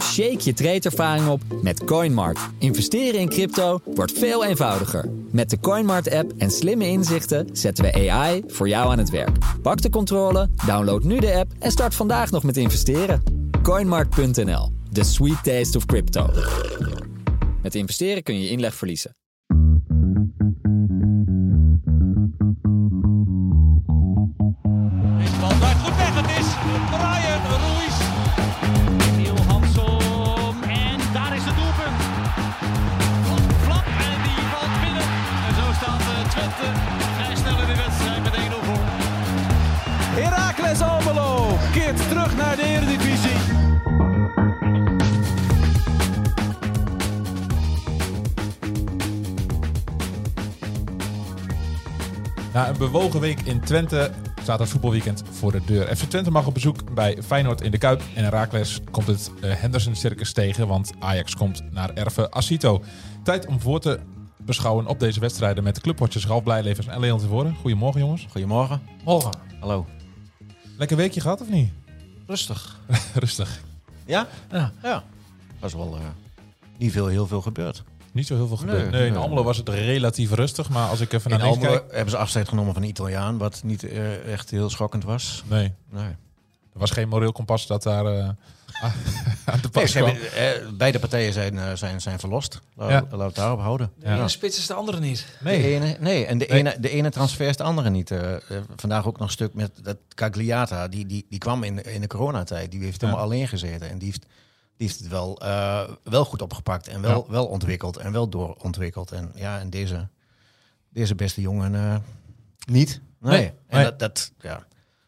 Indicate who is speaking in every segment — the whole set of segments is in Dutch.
Speaker 1: Shake je trade-ervaring op met CoinMart. Investeren in crypto wordt veel eenvoudiger. Met de CoinMart-app en slimme inzichten zetten we AI voor jou aan het werk. Pak de controle, download nu de app en start vandaag nog met investeren. CoinMart.nl, the sweet taste of crypto. Met investeren kun je inleg verliezen.
Speaker 2: Deze bal draait goed weg. Het is Brian Ruiz. Niel Hansom. En daar is het doelpunt. Flap en die valt binnen. En zo staat eh, Twente vrij snel in de wedstrijd met 1-0 voor.
Speaker 3: Heracles Almelo keert terug naar de Eredivisie.
Speaker 4: Na een bewogen week in Twente staat het voetbalweekend voor de deur. FC Twente mag op bezoek bij Feyenoord in de Kuip. En Herakles komt het eh, Henderson Circus tegen, want Ajax komt naar Erve Asito. Tijd om voor te beschouwen op deze wedstrijden met clubwatchers Ralf Blijlevens en Leon Tevoren. Goedemorgen jongens.
Speaker 5: Goedemorgen.
Speaker 4: Morgen.
Speaker 5: Hallo.
Speaker 4: Lekker weekje gehad of niet?
Speaker 5: Rustig.
Speaker 4: Rustig.
Speaker 5: Ja?
Speaker 4: Ja.
Speaker 5: Ja. Was wel eh, niet veel, heel veel gebeurd.
Speaker 4: Niet zo heel veel gebeurd. Nee,
Speaker 5: Nee,
Speaker 4: in
Speaker 5: nee.
Speaker 4: Almelo was het relatief rustig, maar als ik even
Speaker 5: In
Speaker 4: naar links
Speaker 5: Almelo
Speaker 4: kijk...
Speaker 5: hebben ze afscheid genomen van een Italiaan, wat niet eh, echt heel schokkend was.
Speaker 4: Nee,
Speaker 5: Nee.
Speaker 4: er was geen moreel kompas dat daar eh, aan de
Speaker 5: Nee,
Speaker 4: pas
Speaker 5: ze
Speaker 4: kwam.
Speaker 5: hebben, eh, beide partijen zijn, eh, zijn, zijn verlost. La-
Speaker 4: Ja.
Speaker 5: Laten we het daarop houden.
Speaker 4: Ja.
Speaker 6: De ene spits is de andere niet.
Speaker 5: Nee. De ene, nee, en de,
Speaker 4: Nee.
Speaker 5: Ene, de ene transfer is de andere niet. Eh, eh, vandaag ook nog een stuk met dat Cagliata. Die, die, die kwam in, de- in de coronatijd. Die heeft
Speaker 4: Ja.
Speaker 5: helemaal alleen gezeten. En die heeft, die heeft het wel, eh, wel goed opgepakt. En wel, wel ontwikkeld. En wel doorontwikkeld. En ja, en deze, deze beste jongen eh, niet. Nee.
Speaker 4: Nee,
Speaker 5: En
Speaker 4: nee.
Speaker 5: Dat, dat, ja,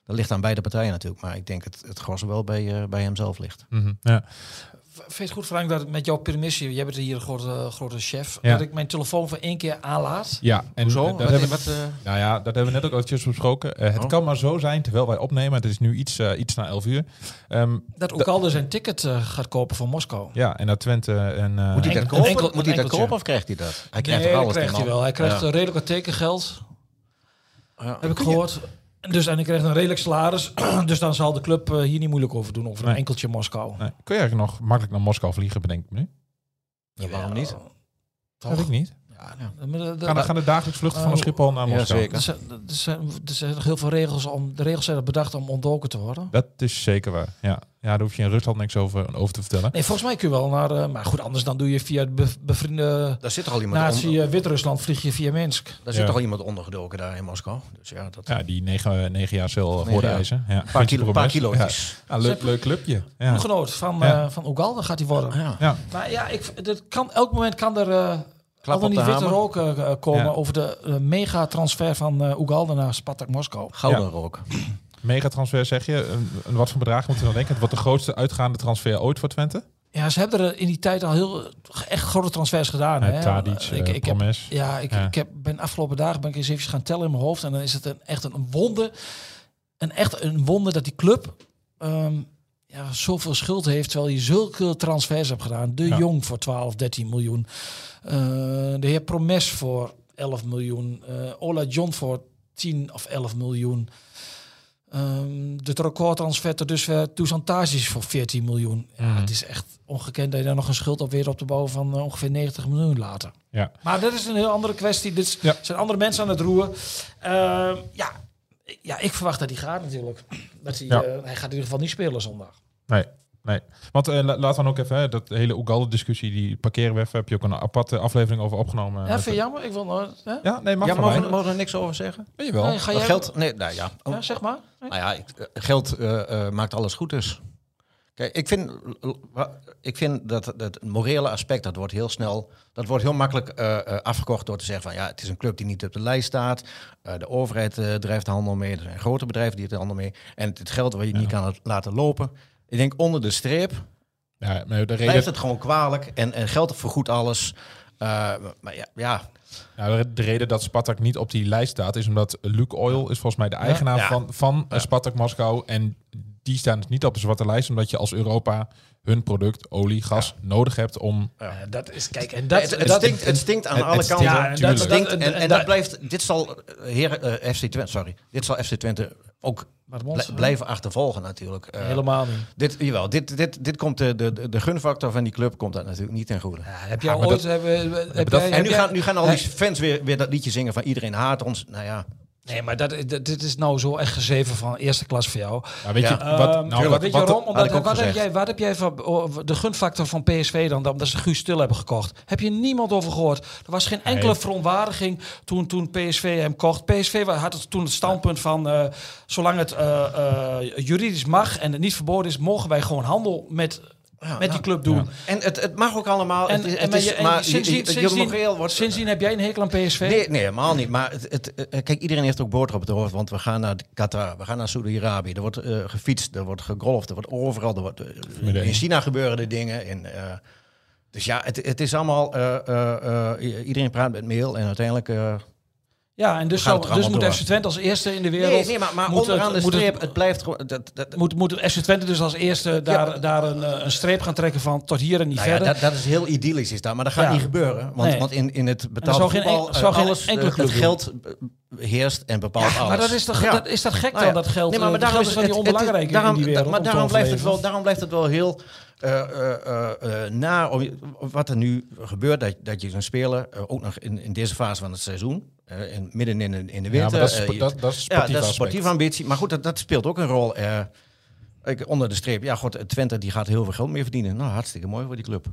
Speaker 5: dat ligt aan beide partijen natuurlijk. Maar ik denk dat het gros wel bij, eh, bij hemzelf ligt.
Speaker 4: Mhm, ja.
Speaker 6: V- Vind je het goed, Frank, dat ik met jouw permissie... Jij bent hier een grote, grote chef.
Speaker 4: Ja.
Speaker 6: Dat ik mijn telefoon voor één keer aanlaat.
Speaker 4: ja, en
Speaker 5: Hoezo?
Speaker 4: eh, daar
Speaker 5: Wat-
Speaker 4: hebben-
Speaker 5: wat, eh,
Speaker 4: Nou ja, dat hebben we net ook eventjes besproken. Eh, het
Speaker 5: Oh.
Speaker 4: kan maar zo zijn, terwijl wij opnemen, het is nu iets, eh, iets na 11 uur. Ehm,
Speaker 6: Dat Oekalde zijn ticket eh, gaat kopen voor Moskou.
Speaker 4: ja, en dat Twente en... eh,
Speaker 5: Moet hij
Speaker 6: Enkel-
Speaker 5: dat kopen?
Speaker 6: enkel-
Speaker 5: Moet hij dat
Speaker 6: enkeltje.
Speaker 5: kopen of krijgt hij dat? Hij krijgt
Speaker 6: nee,
Speaker 5: er
Speaker 6: dat
Speaker 5: alles
Speaker 6: krijgt
Speaker 5: in,
Speaker 6: hij
Speaker 5: man.
Speaker 6: wel. Hij krijgt
Speaker 5: Ja.
Speaker 6: een redelijk wat tekengeld,
Speaker 5: Ja.
Speaker 6: heb ik gehoord. Dus, en hij krijgt een redelijk salaris. dus dan zal de club eh, hier niet moeilijk over doen. Over een
Speaker 4: Nee.
Speaker 6: enkeltje Moskou.
Speaker 4: nee, kun je eigenlijk nog makkelijk naar Moskou vliegen, bedenk ik me nu?
Speaker 5: Ja, waarom niet?
Speaker 4: Dat weet ik niet.
Speaker 5: Ja, ja.
Speaker 6: oh. Eh, Maar dat- dat-
Speaker 4: Gaan, er- gaan de dagelijks vluchten van
Speaker 6: Oh.
Speaker 4: Schiphol naar
Speaker 5: Ja,
Speaker 4: Moskou?
Speaker 5: zeker.
Speaker 6: Er zijn, er, zijn, er zijn nog heel veel regels om. De regels zijn er bedacht om ontdoken te worden.
Speaker 4: Dat is zeker waar, ja. Ja, daar hoef je in Rusland niks over, over te vertellen.
Speaker 6: Nee, volgens mij kun je wel naar. eh, maar goed, anders dan doe je via de be- bevriende
Speaker 5: Daar zit toch al iemand
Speaker 6: natie
Speaker 5: onder.
Speaker 6: eh, Wit-Rusland vlieg je via Minsk.
Speaker 5: Daar
Speaker 4: Ja.
Speaker 5: zit toch al iemand ondergedoken daar in Moskou. Dus ja, dat
Speaker 4: Ja, die negen, negen jaar cel eh,
Speaker 5: Negen
Speaker 4: voor de
Speaker 5: jaar.
Speaker 4: eisen. Ja.
Speaker 5: paar, kilo, paar
Speaker 4: Promes.
Speaker 5: kilootjes.
Speaker 4: Ja. Ja, leuk, leuk clubje.
Speaker 6: Een
Speaker 4: Ja.
Speaker 6: genoot van,
Speaker 4: Ja.
Speaker 6: eh, van Oegalde gaat hij worden.
Speaker 5: Ja.
Speaker 4: Ja.
Speaker 6: Maar ja, ik, dat kan, elk moment kan er. eh
Speaker 5: Klap
Speaker 6: al dan
Speaker 5: op de
Speaker 6: niet witte
Speaker 5: hamer.
Speaker 6: rook eh, eh, komen
Speaker 4: Ja.
Speaker 6: over de eh, mega-transfer van eh Oegalde naar Spartak Moskou.
Speaker 5: Gouden
Speaker 4: Ja.
Speaker 5: rook.
Speaker 4: Megatransfer zeg je. Een, een wat voor bedrag moeten we dan denken? Het wordt de grootste uitgaande transfer ooit voor Twente?
Speaker 6: Ja, ze hebben er in die tijd al heel echt grote transfers gedaan.
Speaker 4: Eh,
Speaker 6: hè.
Speaker 4: Tadic,
Speaker 6: ik,
Speaker 4: eh,
Speaker 6: ik heb
Speaker 4: Promes.
Speaker 6: Ja, ik,
Speaker 4: Ja.
Speaker 6: ik heb, ben afgelopen dagen ben ik eens even gaan tellen in mijn hoofd. En dan is het een, echt een wonder. Een echt een wonder dat die club ehm, ja, zoveel schuld heeft. Terwijl je zulke transfers hebt gedaan. De
Speaker 4: Ja.
Speaker 6: Jong voor 12, 13 miljoen. Eh, de heer Promes voor 11 miljoen. eh Ola John voor 10 of 11 miljoen. Ehm de recordtransfer tot dusver Toussaint Tadic voor 14 miljoen. Ja,
Speaker 4: Mhm.
Speaker 6: Het is echt ongekend dat je daar nog een schuld op weer op te bouwen van eh, ongeveer 90 miljoen later.
Speaker 4: Ja.
Speaker 6: Maar dat is een heel andere kwestie. Dit is-
Speaker 4: Ja.
Speaker 6: zijn andere mensen aan het roeren. Ehm, ja. ja, ik verwacht dat hij gaat natuurlijk. Dat hij,
Speaker 4: Ja.
Speaker 6: eh, hij gaat in ieder geval niet spelen zondag.
Speaker 4: Nee, nee. Want eh, la- laten we dan ook even, hè, dat hele Oegalde-discussie, die parkeren we even. Heb je ook een aparte aflevering over opgenomen?
Speaker 6: ja, vind je jammer? Ik wil nooit... Hè?
Speaker 4: Ja, nee, mag
Speaker 5: Ja,
Speaker 4: van
Speaker 5: mogen,
Speaker 4: mij.
Speaker 5: mogen we er niks over zeggen?
Speaker 4: Ja, jawel.
Speaker 6: Nee, ga
Speaker 5: Dat
Speaker 6: jij...
Speaker 5: geld, nee, nou ja.
Speaker 6: Ja, zeg maar. Nee.
Speaker 5: Nou ja, ik- eh, geld eh, eh, maakt alles goed dus. Kijk, ik vind, l- l- wa- ik vind dat dat het morele aspect, dat wordt heel snel, dat wordt heel makkelijk eh, eh, afgekocht door te zeggen van ja, het is een club die niet op de lijst staat. Eh, de overheid eh, drijft de handel mee, er zijn grote bedrijven die het handel mee. En het, het geld wat je niet kan laten lopen. Ik denk onder de streep,
Speaker 4: Ja, maar de reden,
Speaker 5: blijft het gewoon kwalijk en, en geld vergoedt alles. Eh, maar ja, ja.
Speaker 4: ja, nou, de reden dat Spartak niet op die lijst staat, is omdat Luke Oil is volgens mij de eigenaar
Speaker 5: Ja.
Speaker 4: van, van eh, Spartak Moskou. En die staan dus niet op de zwarte lijst, omdat je als Europa hun product, olie, gas, nodig hebt om...
Speaker 6: Eh, dat is... Kijk, en dat...
Speaker 5: het,
Speaker 6: dat
Speaker 5: het stinkt, het stinkt aan
Speaker 4: het-
Speaker 5: alle
Speaker 4: het stinkt,
Speaker 5: kanten.
Speaker 6: ja, en dat,
Speaker 4: tuurlijk.
Speaker 5: Het stinkt
Speaker 6: dat-
Speaker 5: en, en dat blijft. Dit zal eh, heren, eh, FC Twente, sorry. Dit zal FC Twente ook
Speaker 6: Maar het
Speaker 5: bl-
Speaker 6: monster-
Speaker 5: blijven achtervolgen natuurlijk. Eh,
Speaker 6: helemaal niet.
Speaker 5: Dit, jawel, dit, dit, dit komt de, de, de gunfactor van die club komt dat natuurlijk niet ten goede.
Speaker 6: heb jij
Speaker 4: maar dat-
Speaker 6: ooit... hebben- heb
Speaker 4: dat-
Speaker 6: jij-
Speaker 5: en
Speaker 6: heb
Speaker 5: nu
Speaker 6: jij-
Speaker 5: gaan, nu gaan al die
Speaker 6: Nee.
Speaker 5: fans weer, weer dat liedje zingen van iedereen haat ons. Nou ja,
Speaker 6: Nee, maar dat, dat- dit is nou zo echt gezeven van eerste klas voor jou.
Speaker 4: Ja, weet je,
Speaker 6: Ehm,
Speaker 4: wat, nou,
Speaker 6: tuurlijk,
Speaker 4: wat-
Speaker 6: weet je
Speaker 5: wat-
Speaker 6: waarom?
Speaker 5: had
Speaker 6: Omdat,
Speaker 5: ik ook
Speaker 6: wat, heb
Speaker 5: gezegd.
Speaker 6: jij, wat heb jij van oh, de gunfactor van PSV dan, omdat ze Guus Stil hebben gekocht? Heb je niemand over gehoord? Er was geen enkele
Speaker 4: Nee.
Speaker 6: verontwaardiging toen, toen PSV hem kocht. PSV wa- had het, toen het standpunt van, eh, zolang het eh, eh, juridisch mag en het niet verboden is, mogen wij gewoon handel met,
Speaker 5: Ja,
Speaker 6: met
Speaker 5: ja.
Speaker 6: die club doen.
Speaker 5: en het, het mag ook allemaal.
Speaker 6: En,
Speaker 5: het is,
Speaker 6: en
Speaker 5: het
Speaker 6: maar
Speaker 5: is-
Speaker 6: je- en
Speaker 5: maar
Speaker 6: sindsdien,
Speaker 5: je- je- je
Speaker 6: sindsdien-
Speaker 5: moreel wordt-
Speaker 6: sindsdien heb jij een hekel aan PSV?
Speaker 5: Nee, nee, helemaal niet. Maar het, het, eh, kijk, iedereen heeft ook boter op het hoofd. Want we gaan naar Qatar, we gaan naar Saudi-Arabië. Er wordt eh, gefietst, er wordt gegolfd, er wordt overal. Er wordt, eh,
Speaker 4: één.
Speaker 5: in China gebeuren de dingen. In, eh, dus ja, het, het is allemaal. eh, eh, eh, i- iedereen praat met mail en uiteindelijk. eh,
Speaker 6: Ja, en dus,
Speaker 5: gaan
Speaker 6: zou-
Speaker 5: het er
Speaker 6: dus moet
Speaker 5: allemaal
Speaker 6: FC Twente als eerste in de wereld...
Speaker 5: nee, nee, maar, maar
Speaker 6: moet
Speaker 5: onderaan de
Speaker 6: moet
Speaker 5: streep, het, Nou blijft gewoon. Dat, dat,
Speaker 6: moet, moet FC Twente dus als eerste daar, daar een, eh, een streep gaan trekken van tot hier en niet
Speaker 5: nou ja,
Speaker 6: verder.
Speaker 5: dat, dat is heel idyllisch, is dat, maar dat gaat
Speaker 6: Ja.
Speaker 5: niet gebeuren. Want,
Speaker 6: Nee.
Speaker 5: want in, in het
Speaker 6: er
Speaker 5: betaald
Speaker 6: zou geen
Speaker 5: voetbal,
Speaker 6: en-
Speaker 5: eh,
Speaker 6: zou geen
Speaker 5: alles,
Speaker 6: enkele
Speaker 5: eh,
Speaker 6: club
Speaker 5: het
Speaker 6: doen.
Speaker 5: geld eh, heerst en bepaalt alles.
Speaker 6: maar dat is, toch,
Speaker 5: Ja.
Speaker 6: dat, is dat gek
Speaker 5: Nou
Speaker 6: dan,
Speaker 5: ja.
Speaker 6: dat geld? eh,
Speaker 5: Nee, maar, maar
Speaker 6: dat
Speaker 5: daarom
Speaker 6: geld
Speaker 5: is
Speaker 6: is toch
Speaker 5: het- het-
Speaker 6: niet onbelangrijk
Speaker 5: daarom,
Speaker 6: in die wereld.
Speaker 5: Maar
Speaker 6: om te
Speaker 5: daarom blijft, het wel,
Speaker 6: overleven?
Speaker 5: daarom blijft het wel heel eh, eh, eh, eh, na om je- wat er nu gebeurt. Dat, dat je zo'n speler eh, ook nog in, in deze fase van het seizoen, eh, in, midden in, de- in de winter.
Speaker 4: ja, maar dat is,
Speaker 5: eh,
Speaker 4: spo-
Speaker 5: je-
Speaker 4: dat, dat is
Speaker 5: ja,
Speaker 4: sportief
Speaker 5: dat is
Speaker 4: aspect.
Speaker 5: sportieve ambitie. Maar goed, dat, dat speelt ook een rol. eh. ik, onder de streep, ja, god, eh, Twente die gaat heel veel geld meer verdienen. Nou, hartstikke mooi voor die club.
Speaker 4: Eh,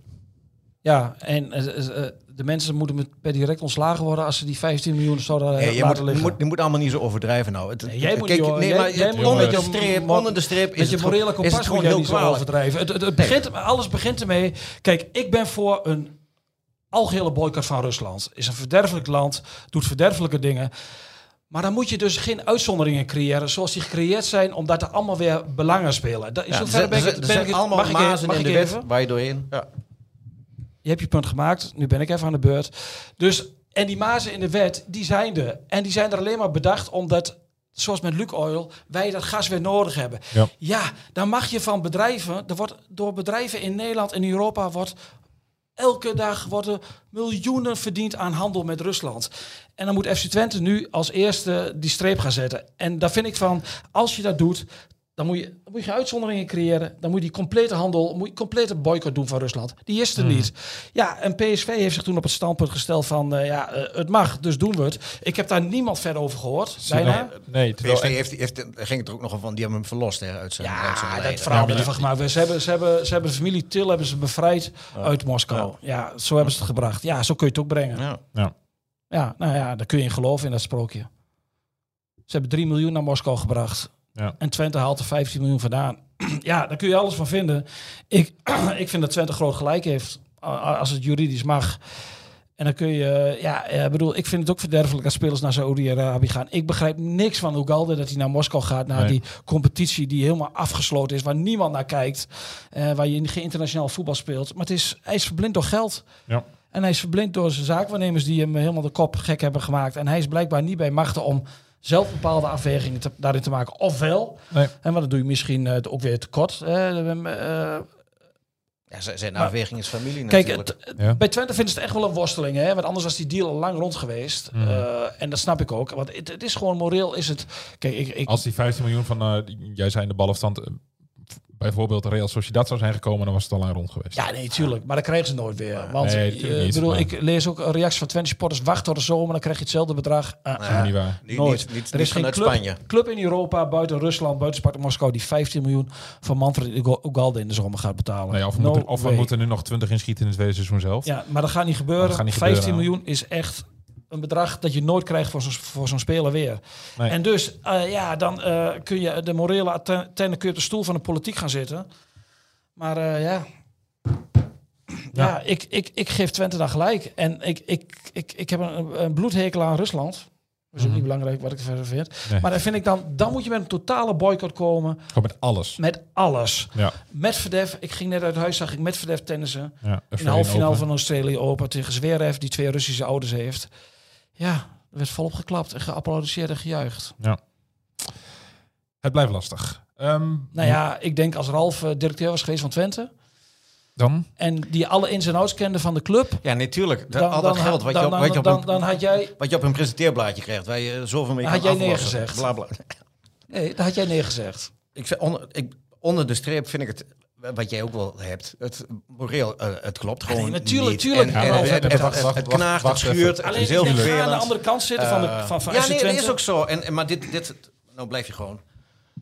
Speaker 6: Ja, en eh, eh, eh, de mensen moeten met- per direct ontslagen worden als ze die 15 miljoen zouden eh,
Speaker 5: Nee, je, moet,
Speaker 6: laten
Speaker 5: je,
Speaker 6: liggen.
Speaker 5: moet, je moet allemaal niet zo overdrijven nou. Het,
Speaker 6: Nee, jij moet,
Speaker 5: kijk,
Speaker 6: joh,
Speaker 5: nee,
Speaker 6: jij-
Speaker 5: maar
Speaker 6: jij
Speaker 5: het-
Speaker 6: moet-
Speaker 5: onder, de
Speaker 6: jongens,
Speaker 5: streep,
Speaker 6: mo-
Speaker 5: onder de streep
Speaker 6: Met
Speaker 5: is
Speaker 6: je
Speaker 5: het gewoon,
Speaker 6: morele
Speaker 5: is
Speaker 6: kompas
Speaker 5: het
Speaker 6: moet
Speaker 5: gewoon
Speaker 6: je
Speaker 5: heel
Speaker 6: niet zo
Speaker 5: kwalijk.
Speaker 6: overdrijven. Het, het, het begint, alles begint ermee. Kijk, ik ben voor een algehele boycott van Rusland. Is een verderfelijk land, doet verderfelijke dingen. Maar dan moet je dus geen uitzonderingen creëren zoals die gecreëerd zijn, omdat er allemaal weer belangen spelen. Dat, in
Speaker 5: Ja, er
Speaker 6: zoverre
Speaker 5: zijn-
Speaker 6: ben ik
Speaker 5: er
Speaker 6: het- ben ik
Speaker 5: zijn
Speaker 6: het-
Speaker 5: allemaal
Speaker 6: mag ik even-
Speaker 5: mazen
Speaker 6: mag
Speaker 5: in
Speaker 6: ik
Speaker 5: de
Speaker 6: even?
Speaker 5: wet waar je doorheen... Ja.
Speaker 6: je hebt je punt gemaakt, nu ben ik even aan de beurt. Dus, en die mazen in de wet, die zijn er. En die zijn er alleen maar bedacht omdat, zoals met Luke Oil, wij dat gas weer nodig hebben.
Speaker 4: Ja.
Speaker 6: dan mag je van bedrijven, er wordt door bedrijven in Nederland en Europa wordt elke dag worden miljoenen verdiend aan handel met Rusland. En dan moet FC Twente nu als eerste die streep gaan zetten. En daar vind ik van, als je dat doet, dan moet je, dan moet je geen uitzonderingen creëren. Dan moet je die complete handel, moet je complete boycott doen van Rusland. Die is
Speaker 4: Hmm.
Speaker 6: er niet. Ja, en PSV heeft zich toen op het standpunt gesteld van, eh, ja, eh, het mag, dus doen we het. Ik heb daar niemand verder over gehoord,
Speaker 4: Zie je
Speaker 6: bijna.
Speaker 4: nou- Nee, terwijl-
Speaker 5: PSV heeft, heeft, ging het er ook nog van, die hebben hem verlost hè, uit zijn uit zijn
Speaker 6: Ja,
Speaker 5: lijden.
Speaker 6: Ah, dat verhaal
Speaker 4: Ja,
Speaker 6: ben
Speaker 4: maar
Speaker 6: je van gemaakt. Ze hebben, ze, hebben, ze hebben de familie Til hebben ze bevrijd uit Moskou. Ja. zo hebben ze het gebracht. Ja, zo kun je het ook brengen.
Speaker 5: Ja.
Speaker 4: Ja.
Speaker 6: Ja, nou ja, daar kun je in geloven in dat sprookje. Ze hebben 3 miljoen naar Moskou gebracht.
Speaker 4: Ja.
Speaker 6: En Twente haalt er 15 miljoen vandaan. ja, daar kun je alles van vinden. Ik, ik vind dat Twente groot gelijk heeft. a- a- Als het juridisch mag. En dan kun je, eh, ja, eh, bedoel, ik vind het ook verderfelijk als spelers naar Saoedi-Arabië gaan. Ik begrijp niks van Ugalde dat hij naar Moskou gaat, naar
Speaker 4: Nee.
Speaker 6: die competitie die helemaal afgesloten is, waar niemand naar kijkt, eh, waar je geen internationaal voetbal speelt. Maar het is, hij is verblind door geld.
Speaker 4: Ja.
Speaker 6: En hij is verblind door zijn zaakwaarnemers die hem helemaal de kop gek hebben gemaakt. En hij is blijkbaar niet bij machten om zelf bepaalde afwegingen te- daarin te maken. Ofwel,
Speaker 4: Nee.
Speaker 6: en want dan doe je misschien eh, ook weer tekort. eh, eh,
Speaker 5: Ja, z- zijn
Speaker 6: Maar-
Speaker 5: afweging is familie
Speaker 6: Kijk,
Speaker 5: natuurlijk.
Speaker 6: het- het-
Speaker 4: Ja.
Speaker 6: bij Twente vinden ze het echt wel een worsteling. Hè? Want anders was die deal al lang rond geweest.
Speaker 4: Hmm.
Speaker 6: Eh, en dat snap ik ook. Want het, het is gewoon moreel. Is het... Kijk, ik, ik,
Speaker 4: Als die 15 miljoen van, eh, die- jij zei in de balafstand, eh, bijvoorbeeld Real Sociedad zou zijn gekomen, dan was het al lang rond geweest.
Speaker 6: Ja, nee, tuurlijk. Maar dat krijgen ze nooit weer. Want
Speaker 4: Nee,
Speaker 6: eh,
Speaker 4: tuurlijk niet,
Speaker 6: bedoel,
Speaker 4: maar-
Speaker 6: ik lees ook een reactie van Twente supporters. Wacht tot de zomer, dan krijg je hetzelfde bedrag. Eh, eh,
Speaker 4: Dat is niet waar.
Speaker 5: Niet-
Speaker 6: nooit.
Speaker 5: Niet, niet,
Speaker 6: er is
Speaker 5: niet
Speaker 6: geen
Speaker 5: vanuit
Speaker 6: club,
Speaker 5: Spanje.
Speaker 6: club in Europa, buiten Rusland, buiten Sparta Moskou, die 15 miljoen van Manfred Ugal- Ugalde in de zomer gaat betalen.
Speaker 4: Nee, Nou of we,
Speaker 6: No
Speaker 4: moeten, of we
Speaker 6: way.
Speaker 4: moeten nu nog 20 inschieten in het tweede seizoen zelf.
Speaker 6: Ja, maar dat gaat niet gebeuren.
Speaker 4: Dat gaat niet
Speaker 6: 15
Speaker 4: gebeuren.
Speaker 6: miljoen is echt een bedrag dat je nooit krijgt voor zo'n voor zo'n speler weer.
Speaker 4: Nee.
Speaker 6: En dus, eh, ja, dan eh, kun je de morele antenne kun je op de stoel van de politiek gaan zitten. Maar eh, ja... Ja, ik, ik, ik geef Twente dan gelijk. En ik, ik, ik, ik heb een, een bloedhekel aan Rusland. Dat is ook niet belangrijk wat ik verder vind.
Speaker 4: Mhm. Nee.
Speaker 6: Maar dan vind ik dan, dan moet je met een totale boycott komen.
Speaker 4: Gewoon met alles.
Speaker 6: Met alles.
Speaker 4: Ja,
Speaker 6: Met Verdef, ik ging net uit huis, zag ik met Verdef tennissen.
Speaker 4: ja.
Speaker 6: In de halve finale van Australië Open tegen Zverev, die twee Russische ouders heeft. Ja, er werd volop geklapt en geapplaudisseerd en gejuicht.
Speaker 4: Het blijft lastig. Ehm,
Speaker 6: Nou ja, ik denk als Ralf eh, directeur was geweest van Twente...
Speaker 4: Dan?
Speaker 6: en die alle ins en outs kende van de club...
Speaker 5: Ja, natuurlijk.
Speaker 6: dan,
Speaker 5: al dat
Speaker 6: dan-
Speaker 5: geld wat
Speaker 6: dan,
Speaker 5: je op,
Speaker 6: dan,
Speaker 5: wat je op
Speaker 6: dan,
Speaker 5: een,
Speaker 6: dan had jij...
Speaker 5: wat je op een presenteerblaadje krijgt, waar je zoveel mee
Speaker 6: Had
Speaker 5: kan
Speaker 6: jij
Speaker 5: aflossen.
Speaker 6: neergezegd?
Speaker 5: Bla, bla.
Speaker 6: Nee, dat had jij neergezegd.
Speaker 5: Ik vind onder, ik, onder de streep vind ik het, wat jij ook wel hebt, het moreel, eh, het klopt gewoon
Speaker 6: nee, natuurlijk,
Speaker 5: niet.
Speaker 6: tuurlijk.
Speaker 5: En-
Speaker 6: Ja,
Speaker 5: en
Speaker 6: maar
Speaker 5: het-
Speaker 6: wacht,
Speaker 5: het- het-
Speaker 4: wacht, wacht,
Speaker 5: Het knaagt, het
Speaker 4: wacht even.
Speaker 5: schuurt, het
Speaker 6: Alleen
Speaker 5: is
Speaker 6: ik
Speaker 5: heel
Speaker 6: denk, ga aan de
Speaker 5: vervelend.
Speaker 6: andere kant zitten van, de,
Speaker 5: Eh,
Speaker 6: van, van
Speaker 5: ja,
Speaker 6: FC
Speaker 5: nee, dat
Speaker 6: Twente.
Speaker 5: is ook zo. En, en, maar dit, dit, nou blijf je gewoon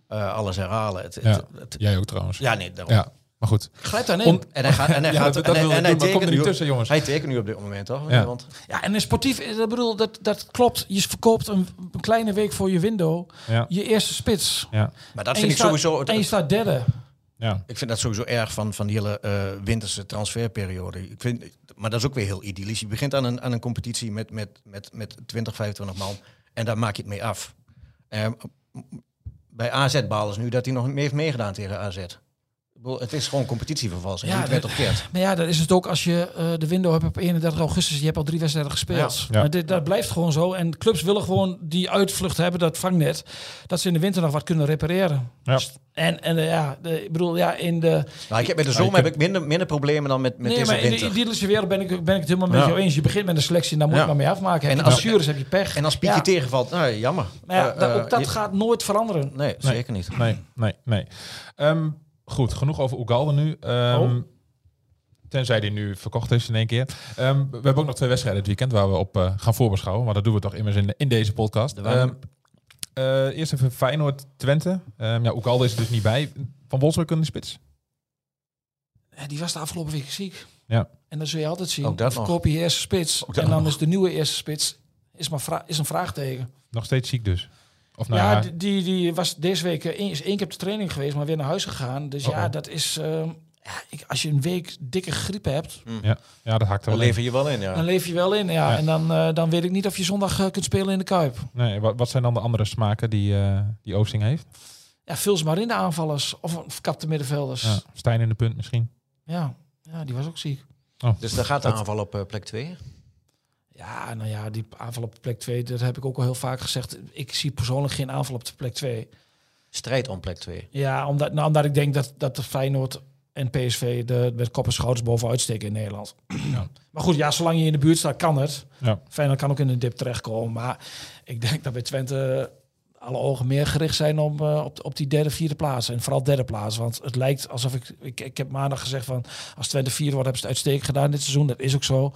Speaker 5: eh, alles herhalen. Het, het-
Speaker 4: Ja.
Speaker 5: het-
Speaker 4: Jij ook trouwens. Ja,
Speaker 5: ja, nee, daarom.
Speaker 4: maar goed.
Speaker 6: Glijdt daarin.
Speaker 4: Om-
Speaker 5: En hij gaat, en hij
Speaker 4: Ja,
Speaker 5: gaat,
Speaker 4: dat-
Speaker 5: en
Speaker 4: dat
Speaker 5: hij-
Speaker 4: wilde
Speaker 5: en
Speaker 4: ik
Speaker 5: hij
Speaker 4: doen, maar ik kom er
Speaker 5: tekent
Speaker 4: niet
Speaker 5: nu-
Speaker 4: tussen, jongens.
Speaker 5: Hij tekent nu op dit moment, toch?
Speaker 4: Ja.
Speaker 5: Want,
Speaker 6: Ja, en een sportief, eh, ik bedoel, dat, dat klopt. Je verkoopt een, een kleine week voor je window
Speaker 4: Ja.
Speaker 6: je eerste spits.
Speaker 4: Ja.
Speaker 5: maar
Speaker 6: En
Speaker 5: dat vind
Speaker 6: je
Speaker 5: ik
Speaker 6: staat-
Speaker 5: sowieso... het-
Speaker 6: en je staat derde.
Speaker 4: Ja.
Speaker 5: Ik vind dat sowieso erg van, van die hele eh, winterse transferperiode. Ik vind, maar dat is ook weer heel idyllisch. Je begint aan een, aan een competitie met, met, met, met 20, 25 man en daar maak je het mee af. Eh, bij AZ balen ze nu dat hij nog niet meer heeft meegedaan tegen AZ. Ik bedoel, Het is gewoon competitievervalsing.
Speaker 6: Ja,
Speaker 5: Ja, werd
Speaker 6: dat-
Speaker 5: opkeert.
Speaker 6: Maar ja, dat is het ook als je eh, de window hebt op 31 augustus. Je hebt al drie wedstrijden gespeeld.
Speaker 4: Ja. Ja.
Speaker 6: Maar dit, dat blijft gewoon zo. En clubs willen gewoon die uitvlucht hebben, dat vangnet. Dat ze in de winter nog wat kunnen repareren.
Speaker 4: Ja.
Speaker 6: En, en eh, ja, de- ik bedoel, ja, in de...
Speaker 5: Nou, ik heb met de zomer heb ik minder, minder problemen dan met, met
Speaker 6: nee,
Speaker 5: deze
Speaker 6: maar in de
Speaker 5: winter.
Speaker 6: idyllische wereld ben ik, ben ik het helemaal met
Speaker 5: Ja.
Speaker 6: jou eens. Je begint met een selectie en daar moet
Speaker 5: Ja.
Speaker 6: je maar mee afmaken. Heb
Speaker 5: En
Speaker 6: en
Speaker 5: als-
Speaker 6: als blessures heb je pech.
Speaker 5: En als Pietje
Speaker 6: Ja.
Speaker 5: tegenvalt, nou, jammer.
Speaker 6: Maar ja,
Speaker 5: Eh,
Speaker 6: dat-
Speaker 5: eh,
Speaker 6: ook dat
Speaker 5: je-
Speaker 6: gaat nooit veranderen.
Speaker 5: Nee, zeker niet.
Speaker 4: Nee, nee, nee. Ehm, goed, genoeg over Ugalde nu. Ehm,
Speaker 6: Oh.
Speaker 4: Tenzij die nu verkocht is in één keer. Ehm, we hebben ook nog twee wedstrijden dit weekend waar we op eh, gaan voorbeschouwen. Maar dat doen we toch immers in, in deze podcast.
Speaker 5: Er waren-
Speaker 4: Ehm, eh, eerst even Feyenoord-Twente. Ehm, ja, Ugalde is er dus niet bij. Van Wolfsburg in de spits.
Speaker 6: Ja, Eh, die was de afgelopen week ziek.
Speaker 4: Ja.
Speaker 6: En dat zul je altijd zien.
Speaker 5: Ook dat
Speaker 6: Dan
Speaker 5: nog.
Speaker 6: verkoop je je eerste spits.
Speaker 5: dat
Speaker 6: En dan is de nieuwe eerste spits is maar vra- is een vraagteken.
Speaker 4: Nog steeds ziek dus. Of nou
Speaker 6: ja,
Speaker 4: ja,
Speaker 6: die- die, die was deze week eh, één- is één keer op de training geweest, maar weer naar huis gegaan. Dus ja,
Speaker 4: Uh-oh.
Speaker 6: dat is. ehm, ja, ik, als je een week dikke griep hebt,
Speaker 4: ja, ja, dat hakt er
Speaker 5: Dan
Speaker 4: wel in.
Speaker 5: lever je wel in, ja.
Speaker 6: dan leef je wel in. Ja.
Speaker 4: Ja.
Speaker 6: En dan, eh, dan weet ik niet of je zondag eh, kunt spelen in de Kuip.
Speaker 4: Nee, wat, wat zijn dan de andere smaken die, eh die Oosting heeft?
Speaker 6: Ja, vul ze maar in de aanvallers of een verkapte middenvelders.
Speaker 4: Ja,
Speaker 6: Ja.
Speaker 4: Stijn in de punt misschien.
Speaker 6: Ja. die was ook ziek.
Speaker 4: Oh.
Speaker 5: Dus dan gaat de aanval op eh, plek 2.
Speaker 6: Ja, nou ja, die aanval op plek 2, dat heb ik ook al heel vaak gezegd. Ik zie persoonlijk geen aanval op de plek 2.
Speaker 5: Strijd om plek 2.
Speaker 6: Ja, omdat, nou, omdat ik denk dat, dat de Feyenoord en PSV de, met kop en schouders bovenuit steken in Nederland.
Speaker 4: Ja.
Speaker 6: Maar goed, ja, zolang je in de buurt staat, kan het.
Speaker 4: Ja.
Speaker 6: Feyenoord kan ook in een dip terechtkomen. Maar ik denk dat bij Twente alle ogen meer gericht zijn om, eh, op, op die derde, vierde plaats. En vooral derde plaats. Want het lijkt alsof ik... Ik, ik heb maandag gezegd van... Als Twente vierde wordt, hebben ze het uitstekend gedaan dit seizoen. Dat is ook zo.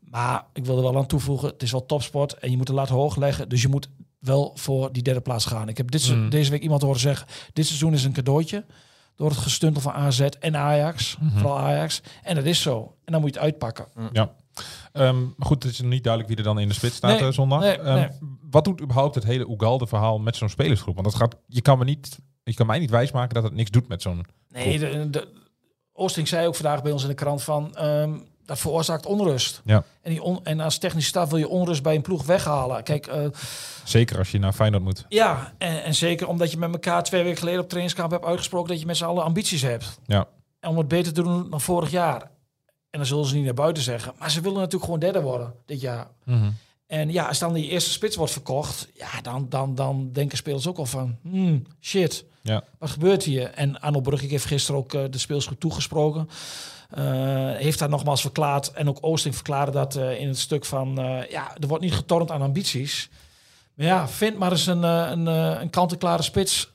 Speaker 6: Maar ik wil er wel aan toevoegen. Het is wel topsport en je moet de lat hoog leggen. Dus je moet wel voor die derde plaats gaan. Ik heb dit, se-
Speaker 4: Mm.
Speaker 6: deze week iemand horen zeggen... Dit seizoen is een cadeautje. Door het gestuntel van AZ en Ajax.
Speaker 4: Mhm.
Speaker 6: Vooral Ajax. En dat is zo. En dan moet je het uitpakken.
Speaker 4: Ehm, maar goed, het is nog niet duidelijk wie er dan in de spits staat
Speaker 6: Nee,
Speaker 4: eh, zondag.
Speaker 6: nee,
Speaker 4: Ehm,
Speaker 6: nee.
Speaker 4: Wat doet überhaupt het hele Ugalde-verhaal met zo'n spelersgroep? Want dat gaat, je, kan me niet, je kan mij niet wijsmaken dat het niks doet met zo'n...
Speaker 6: Nee, de, de- Oosting zei ook vandaag bij ons in de krant van... ehm, dat veroorzaakt onrust.
Speaker 4: Ja.
Speaker 6: En, die on- en als technische staf wil je onrust bij een ploeg weghalen. Kijk, eh,
Speaker 4: Zeker als je naar Feyenoord moet.
Speaker 6: ja, en, en zeker omdat je met elkaar twee weken geleden op trainingskamp hebt uitgesproken... dat je met z'n allen ambities hebt.
Speaker 4: Ja.
Speaker 6: En om het beter te doen dan vorig jaar. En dan zullen ze niet naar buiten zeggen. Maar ze willen natuurlijk gewoon derde worden dit jaar. En ja, als dan die eerste spits wordt verkocht, ja, dan, dan, dan denken spelers ook al van, hmm, shit,
Speaker 4: Ja.
Speaker 6: wat gebeurt hier? En Arno Brugge heeft gisteren ook eh, de speelsgroep toegesproken. Eh, heeft daar nogmaals verklaard, en ook Oosting verklaarde dat eh, in het stuk van, eh, ja, er wordt niet getornd aan ambities. Maar ja, vind maar eens een, eh, een, eh, een kant-en-klare spits.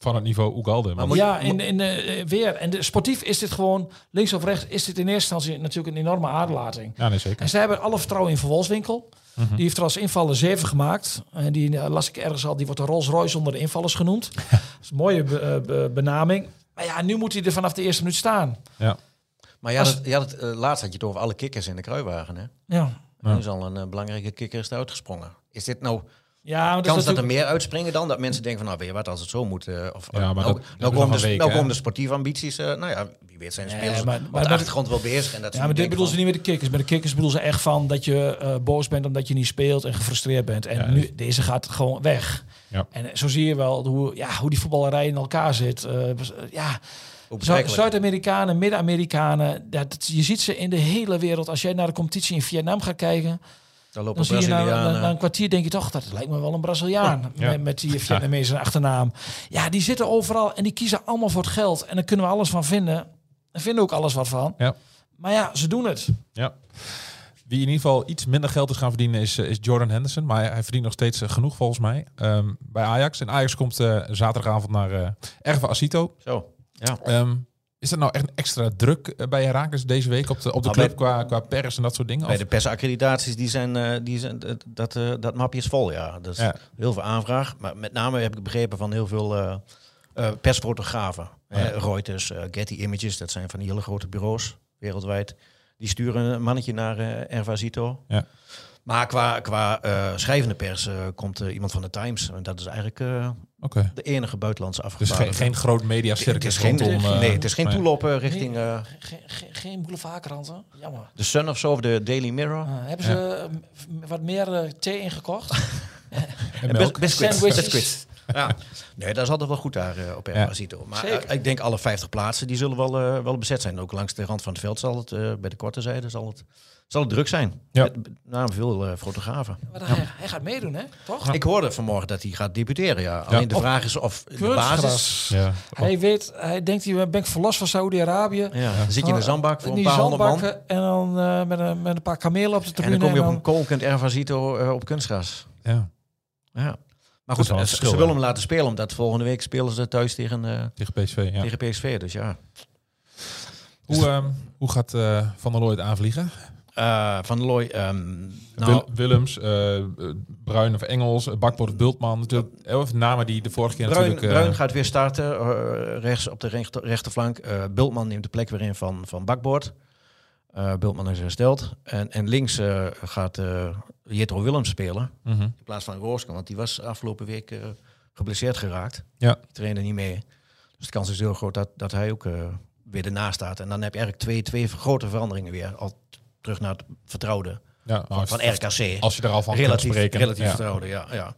Speaker 4: Van het niveau Ugalde. Maar
Speaker 5: moet-
Speaker 6: ja, in, in, eh, weer. En de, sportief is dit gewoon, links of rechts, is dit in eerste instantie natuurlijk een enorme aardlating.
Speaker 4: ja, nee, zeker.
Speaker 6: En zij hebben alle vertrouwen in Van Wolfswinkel.
Speaker 4: Mhm.
Speaker 6: Die heeft er als invaller zeven gemaakt. En die eh, las ik ergens al. Die wordt de Rolls Royce onder de invallers genoemd. dat is een mooie be- eh, be- benaming. Maar ja, nu moet hij er vanaf de eerste minuut staan.
Speaker 4: Ja.
Speaker 5: Maar ja,
Speaker 6: Als-
Speaker 5: dat, ja, dat, eh, laatst had je het over alle kikkers in de kruiwagen. Hè?
Speaker 6: Ja,
Speaker 4: Ja.
Speaker 5: Er is al een eh, belangrijke kikker is eruit gesprongen. Is dit nou
Speaker 6: ja maar dat
Speaker 5: kans
Speaker 6: is
Speaker 5: dat er
Speaker 6: natuurlijk...
Speaker 5: meer uitspringen dan dat mensen denken van, nou weet je wat, als het zo moet, eh, of
Speaker 4: Ja,
Speaker 5: eh,
Speaker 4: maar dat-
Speaker 5: nou,
Speaker 4: dat is
Speaker 5: nou,
Speaker 4: nog
Speaker 5: komen de,
Speaker 4: een week,
Speaker 5: nou
Speaker 4: hè?
Speaker 5: komen de sportieve ambities, eh, nou ja, wie weet zijn de
Speaker 6: Nee,
Speaker 5: spelers
Speaker 6: maar-
Speaker 5: op
Speaker 6: maar-
Speaker 5: de
Speaker 6: maar-
Speaker 5: achtergrond wel bezig en dat ze
Speaker 6: Ja, maar dit
Speaker 5: denken
Speaker 6: bedoelen ze
Speaker 5: van,
Speaker 6: niet met de kikkers. Met de kikkers bedoelen ze echt van dat je eh, boos bent omdat je niet speelt en gefrustreerd bent. En
Speaker 4: Ja, dus-
Speaker 6: nu, deze gaat gewoon weg.
Speaker 4: Ja.
Speaker 6: En eh, zo zie je wel hoe, ja, hoe die voetballerij in elkaar zit. Eh, ja,
Speaker 5: hoe
Speaker 6: Zu-
Speaker 5: betrekkelijk.
Speaker 6: Zuid-Amerikanen, Midden-Amerikanen, dat, dat- je ziet ze in de hele wereld. Als jij naar de competitie in Vietnam gaat kijken,
Speaker 5: Daar
Speaker 6: dan
Speaker 5: lopen
Speaker 6: zie je na, na-
Speaker 5: Brazilianen.
Speaker 6: na een kwartier denk je toch, dat lijkt me wel een Braziliaan
Speaker 4: ja.
Speaker 6: met, met die Vietnamese achternaam. Ja, die zitten overal en die kiezen allemaal voor het geld. En daar kunnen we alles van vinden. En vinden ook alles wat van.
Speaker 4: Ja.
Speaker 6: Maar ja, ze doen het.
Speaker 4: ja. Wie in ieder geval iets minder geld is gaan verdienen is, eh, is Jordan Henderson. Maar hij, hij verdient nog steeds eh, genoeg volgens mij ehm, bij Ajax. En Ajax komt eh, zaterdagavond naar eh Erve Asito.
Speaker 5: Zo. Ja.
Speaker 4: Ehm, is dat nou echt een extra druk eh, bij Herakles deze week op de, op de
Speaker 5: Nou,
Speaker 4: club
Speaker 5: bij-
Speaker 4: qua, qua pers en dat soort dingen?
Speaker 5: Bij
Speaker 4: Of-
Speaker 5: de persaccreditaties, die zijn, eh, die zijn, dat- dat, eh, dat mapje is vol, ja. Dus
Speaker 4: Ja.
Speaker 5: heel veel aanvraag. Maar met name heb ik begrepen van heel veel eh, eh, persfotografen. Eh, Reuters, eh, Getty Images, dat zijn van die hele grote bureaus wereldwijd. Die sturen een mannetje naar eh Ervasito.
Speaker 4: Ja.
Speaker 5: Maar qua, qua eh, schrijvende pers eh, komt eh, iemand van de Times. En dat is eigenlijk eh,
Speaker 4: Oké.
Speaker 5: de enige buitenlandse
Speaker 4: Dus
Speaker 5: afgevaardigde.
Speaker 4: geen, geen groot
Speaker 5: het is
Speaker 4: mediacircus
Speaker 5: geen,
Speaker 4: rondom... eh,
Speaker 5: nee, het is geen
Speaker 4: maar-
Speaker 5: toelop eh, richting eh,
Speaker 6: Geen, geen, geen boulevardkranten, jammer.
Speaker 5: de Sun of zo of de Daily Mirror.
Speaker 4: Ah,
Speaker 6: Eh, hebben ze eh, m- wat meer eh, thee ingekocht?
Speaker 4: en
Speaker 5: En
Speaker 4: melk.
Speaker 5: bis- Eh, biscuits.
Speaker 6: Sandwiches.
Speaker 5: Biscuits. Ja. Nee, dat is altijd wel goed daar eh, op
Speaker 4: Ja.
Speaker 5: Erasito. Maar eh,
Speaker 6: Zeker.
Speaker 5: ik denk alle 50 plaatsen die zullen wel, eh, wel bezet zijn. Ook langs de rand van het veld zal het, eh, bij de korte zijde, zal het, zal het druk zijn.
Speaker 4: Ja.
Speaker 5: Met, nou, veel eh, fotografen.
Speaker 6: Maar hij, hij gaat meedoen, hè? Toch?
Speaker 5: Ik hoorde vanmorgen dat hij gaat debuteren, ja. Alleen
Speaker 4: Oh.
Speaker 5: de vraag is of in de basis...
Speaker 6: Kunstgras.
Speaker 4: Ja.
Speaker 6: Hij weet, hij denkt, hier ben ik verlost van Saudi-Arabië. eh,
Speaker 5: Ja, dan zit je in een zandbak voor
Speaker 6: Ah, In
Speaker 5: een
Speaker 6: die
Speaker 5: paar honderd man.
Speaker 6: zandbakken en dan eh, met, een, met een paar kamelen op de
Speaker 5: En
Speaker 6: tribune.
Speaker 5: dan kom je op
Speaker 6: en
Speaker 5: een kolkend Ervasito eh, op kunstgras.
Speaker 4: Ja.
Speaker 5: Ja. Maar
Speaker 4: is
Speaker 5: goed, eh,
Speaker 4: wel een
Speaker 5: ze-
Speaker 4: verschil,
Speaker 5: ze willen
Speaker 4: ja.
Speaker 5: hem laten spelen, omdat volgende week spelen ze thuis tegen, eh,
Speaker 4: Tegen PSV, ja.
Speaker 5: tegen PSV. Dus ja,
Speaker 4: Hoe, ehm, hoe gaat eh, Van der Looy het aanvliegen?
Speaker 5: Eh, Van der Looy... ehm, nou,
Speaker 4: Wil- Willems, eh, eh, Bruin of Engels, eh, Bakboord of Bultman. Natuurlijk, heel veel namen die de vorige keer
Speaker 5: Bruin,
Speaker 4: natuurlijk... eh,
Speaker 5: Bruin gaat weer starten, eh, rechts op de rechter, rechterflank. Eh, Bultman neemt de plek weer in van, van Bakboord. Eh, Bultman is hersteld. En, en links eh, gaat eh Jetro Willems spelen.
Speaker 4: mhm.
Speaker 5: In plaats van Rooskamp, want die was afgelopen week eh, geblesseerd geraakt.
Speaker 4: Ja.
Speaker 5: Die trainde niet mee. Dus de kans is heel groot dat, dat hij ook eh, weer ernaast staat. En dan heb je eigenlijk twee, twee grote veranderingen weer. Al t- terug naar het vertrouwde
Speaker 4: Ja, nou,
Speaker 5: van
Speaker 4: als-
Speaker 5: RKC.
Speaker 4: Als je er al van
Speaker 5: relatief,
Speaker 4: kunt spreken.
Speaker 5: relatief
Speaker 4: ja.
Speaker 5: vertrouwde, ja. ja.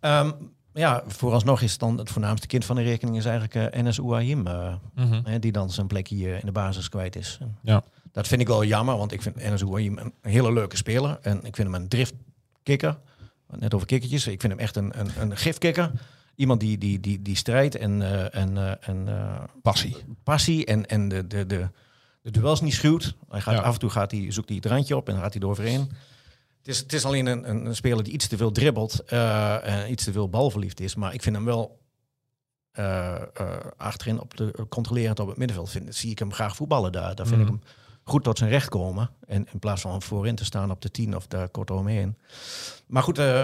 Speaker 5: Ehm, ja, vooralsnog is dan het voornaamste kind van de rekening is eigenlijk eh NS Ouahim, eh,
Speaker 4: Mhm.
Speaker 5: hè, die dan zijn plek hier in de basis kwijt is. En
Speaker 4: Ja.
Speaker 5: Dat vind ik wel jammer, want ik vind NS Ouahim een hele leuke speler en ik vind hem een driftkikker. Net over kikkertjes, ik vind hem echt een, een, een gifkikker. Iemand die, die, die, die strijdt en, eh, en, eh, en eh,
Speaker 4: Passie.
Speaker 5: passie en, en de, de, de, de duels niet schuwt. Hij gaat,
Speaker 4: Ja.
Speaker 5: Af en toe gaat hij, zoekt hij het randje op en dan gaat hij eroverheen. Het is, het is alleen een, een, een speler die iets te veel dribbelt eh, en iets te veel balverliefd is. Maar ik vind hem wel eh, eh, achterin op de, controlerend op het middenveld. Vind, zie ik hem graag voetballen daar. Daar vind
Speaker 4: Mhm.
Speaker 5: ik hem goed tot zijn recht komen. En in plaats van voorin te staan op de tien of daar kort omheen. Maar goed, eh,